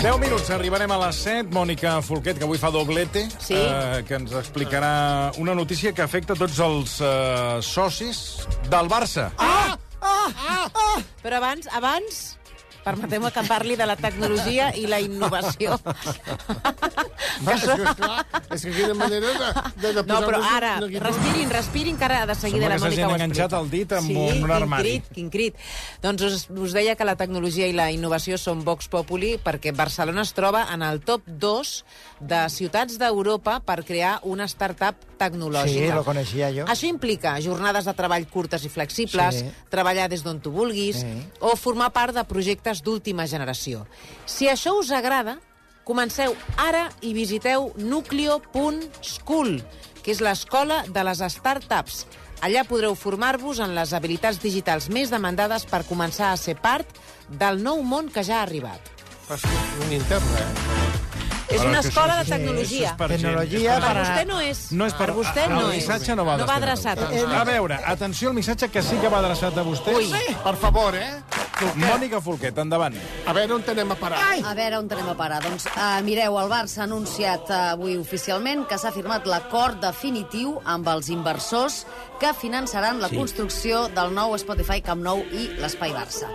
10 minuts, arribarem a les 7. Mònica Folquet, que avui fa doblete, Sí. eh, que ens explicarà una notícia que afecta tots els eh, socis del Barça. Ah! Però abans, abans, permeteu-me que parli de la tecnologia i la innovació. És que, esclar, és que quina manera de, de, de Ah! No, posar-nos però ara, una guitarra. respirin, respirin, que ara de seguida Sembla la que Mònica s'hagin ho enganxat explica. el dit amb sí, un armari. Quin crit, quin crit. Doncs us, us deia que la tecnologia i la innovació són Vox Populi perquè Barcelona es troba en el top 2 de ciutats d'Europa per crear una startup tecnològica. Sí, lo coneixia jo. Això implica jornades de treball curtes i flexibles, Sí. treballar des d'on tu vulguis Sí. o formar part de projectes d'última generació. Si això us agrada, comenceu ara i visiteu nucleo.school, que és l'escola de les startups. Allà podreu formar-vos en les habilitats digitals més demandades per començar a ser part del nou món que ja ha arribat. Fas un intern, eh? És Ara, una que escola això de és- tecnologia. això és per gent, Tecnologia és Per per- para- vostè no és. No és per... per vostè no, no, el és. missatge no va no va adreçat. a vostè. A veure, atenció al missatge que sí que va adreçat a vostè. Ui. Per favor, eh? Mònica Folquet, endavant. A veure on anem a parar. Ai. A veure on anem a parar. Doncs uh, mireu, el Barça ha anunciat eh, avui oficialment que s'ha firmat l'acord definitiu amb els inversors que finançaran la sí. construcció del nou Spotify Camp Nou i l'Espai Barça.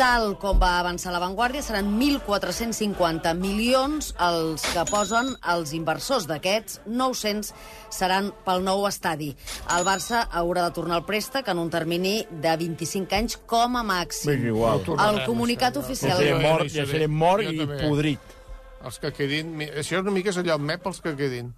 Tal com va avançar la Vanguardia, seran 1.450 milions els que posen els inversors d'aquests, 900 seran pel nou estadi. El Barça haurà de tornar el préstec en un termini de 25 anys com a màxim. M'és igual. El comunicat oficial... Seré Jo mort, també. ja seré mort Jo i també. podrit. Els que quedin... mi- Això és una mica és allò mep pels que quedin.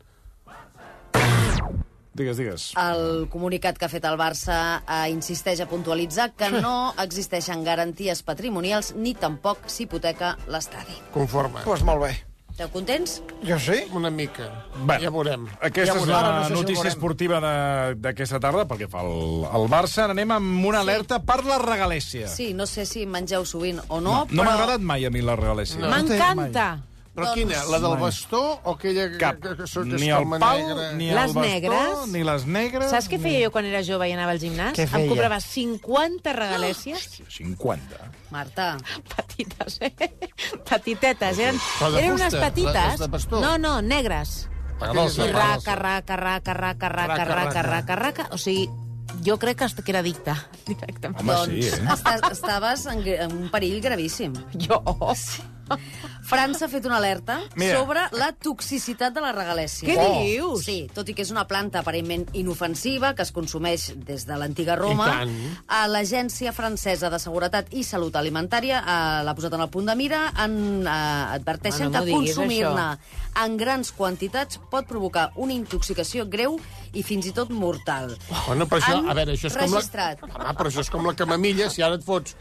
Digues, digues. El comunicat que ha fet el Barça eh, insisteix a puntualitzar que no existeixen garanties patrimonials ni tampoc s'hipoteca l'estadi. Conforme. Pues molt bé. Esteu contents? Jo sí. Una mica. Bé, ja veurem. Aquesta Ja és veurem. la Ara no sé si ho notícia veurem. esportiva de- d'aquesta tarda, pel que fa al, al Barça. Anem amb una alerta per la regalèssia. Sí, no sé si mengeu sovint o no, No m'ha però... agradat mai a mi la regalèssia. No. M'encanta. Però quina? La del bastó o aquella que, Cap. que, que, que, que Ni el pal, ni el Les bastó, negres? ni les negres... Saps què feia jo quan era jove i anava al gimnàs? Què feia? Em cobrava 50 regalècies. 50. Marta, petites, eh? Petitetes, eren, Però de eren fusta, unes les petites. de bastó. No, no, negres. I Paganosa, raca, raca, raca, raca, raca, raca, raca, raca. O sigui, jo crec que est- que era addicta, directament. Home, doncs, sí, eh? estàs, estaves en, gr- en un perill gravíssim. Jo. França ha fet una alerta Mira. sobre la toxicitat de la regalèssia. Què Oh. dius? Sí, tot i que és una planta aparentment inofensiva que es consumeix des de l'antiga Roma, I tant. a l'Agència Francesa de Seguretat i Salut Alimentària eh, l'ha posat en el punt de mira, en, eh, adverteixen Home, no que m'ho diguis, consumir-ne en grans quantitats pot provocar una intoxicació greu i fins i tot mortal. Bueno, però això, Han a veure, això és com registrat. la... Home, però això és com la camamilla, si ara et fots...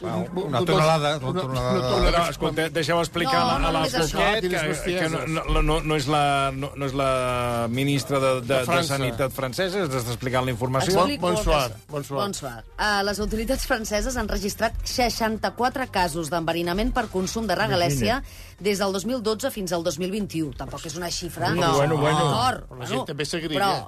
un- un- una dos- tonelada, una una- tonelada una de- No, tonelada. no, escolta, deixeu explicar No, no, no, no a la només això, Foquet quines que, que bestieses. no, no, no, no, és la, no, no és la ministra de, de, de, de França. Sanitat francesa, ens està explicant la informació. Explico Bon- el que bonsoir, és. bonsoir. Bonsoir. Uh, les autoritats franceses han registrat 64 casos d'enverinament per consum de regalèssia des del 2012 fins al 2021. Tampoc és una xifra... No. Bueno, bueno. D'acord, Però la gent també s'agrilla. Però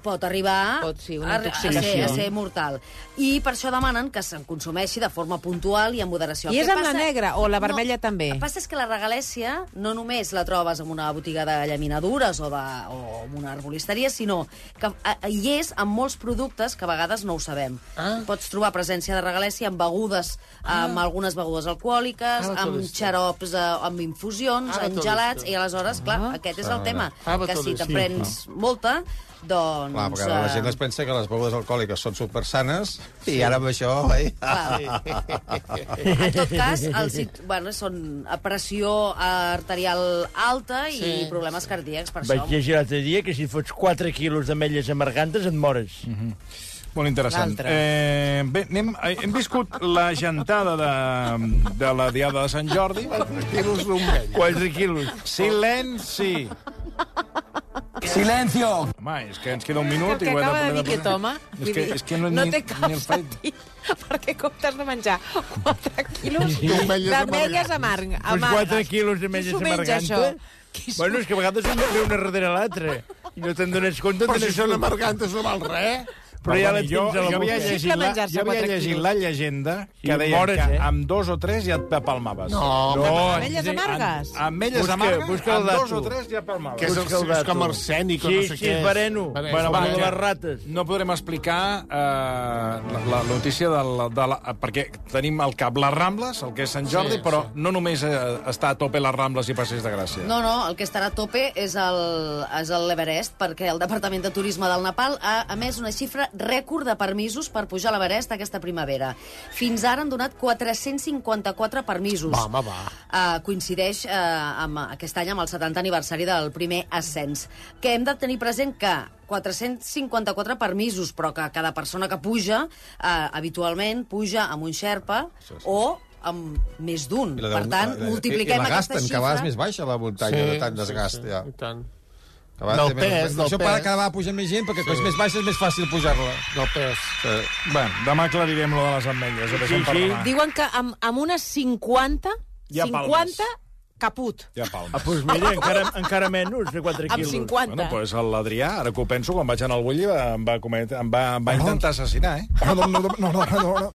pot arribar Pot ser una a, a, ser, intoxicació. a ser mortal. I per això demanen que se'n consumeixi de forma puntual i amb moderació. I El és que amb la negra o la vermella no, també? El que passa és que la regalèssia no només la trobes en una botiga de llaminadures o, de, o en una arbolisteria, sinó que a, a, hi és en molts productes que a vegades no ho sabem. Ah. Pots trobar presència de regalèssia en begudes, ah. amb algunes begudes alcohòliques, Ara t'ho he amb vist. xarops, eh, amb infusions, Ara t'ho en he gelats, vist. i aleshores, clar, Ah. aquest és Ah. el tema, Ara que t'ho he si vist. Ah, te'n Sí, prens molta, doncs... Clar, perquè la eh, gent es pensa que les begudes alcohòliques són supersanes i ara amb això... Eh? eh, En tot cas, el cit... bueno, són a pressió arterial alta i Sí. problemes cardíacs, per Vaig això. llegir l'altre dia que si fots 4 quilos d'ametlles amargantes et mores. Mm Molt interessant. L'altre. Eh, bé, anem, eh, hem viscut la gentada de, de la Diada de Sant Jordi. Quilos d'un vell. 4 quilos. Silenci! Silencio. Home, és que ens queda un minut que i el ho que hem acaba de de dir aquest home, És vull que, dir, és que no, no ni, té cap ni el fet. sentit, perquè comptes de menjar 4 quilos D'ametlles d'ametlles amarg- amargues. Doncs 4 quilos de Qui melles s'ho menja, amargantes. això? Qui s'ho- Bueno, és que a vegades un ve una darrere l'altra. I no te'n dones compte... Però en si dones són tu. amargantes no val res. Però ja la tens jo, a la jo havia boca. llegit, la, menjar-se jo havia quatre llegit quilos. la llegenda que I deia mores, que eh? amb dos o tres ja et palmaves. No, No, Ametlles sí, amargues. Amb elles Busca- amargues, busca el amb dos dato. o tres ja palmaves. Que és, el, Busca el és com dato. arsènic o Sí, no sé sí, què. és. vereno. Bereno, Bueno, va, bueno, que- les rates. No podrem explicar eh, la, la notícia de la, de la, perquè tenim al cap les Rambles, el que és Sant Jordi, Sí, però no només eh, està a tope les Rambles i Passeig de Gràcia. No, no, el que estarà a tope és el, és el l'Everest, perquè el Departament de Turisme del Nepal ha emès una xifra rècord de permisos per pujar a l'Everest aquesta primavera. Fins ara han donat 454 permisos. Va, home, va. Uh, coincideix uh, amb aquest any amb el 70 aniversari del primer ascens. Que hem de tenir present que 454 permisos, però que cada persona que puja, uh, habitualment puja amb un xerpa sí, sí. o amb més d'un. I la de- Per tant, la de- multipliquem I la aquesta gasten, xifra... que a vegades més baixa la muntanya, de tant desgast, ja. I tant. Que a vegades Del té més- pes, del Això para pes. cada vegada puja més gent, perquè quan és més baixa és més fàcil pujar-la. Del pes. Sí. Bé, demà aclarirem lo de les ametlles, ho deixem Sí, per sí. demà. Diuen que amb, amb unes 50, Hi ha 50 caput. Ja Ah, palmes. doncs mira, encara, encara menys de 4 Amb quilos. 50. Bueno, doncs l'Adrià, ara que ho penso, quan vaig anar al Bulli va, em, va cometre, em, va, em va intentar assassinar, eh? No, no, no, no, no, no.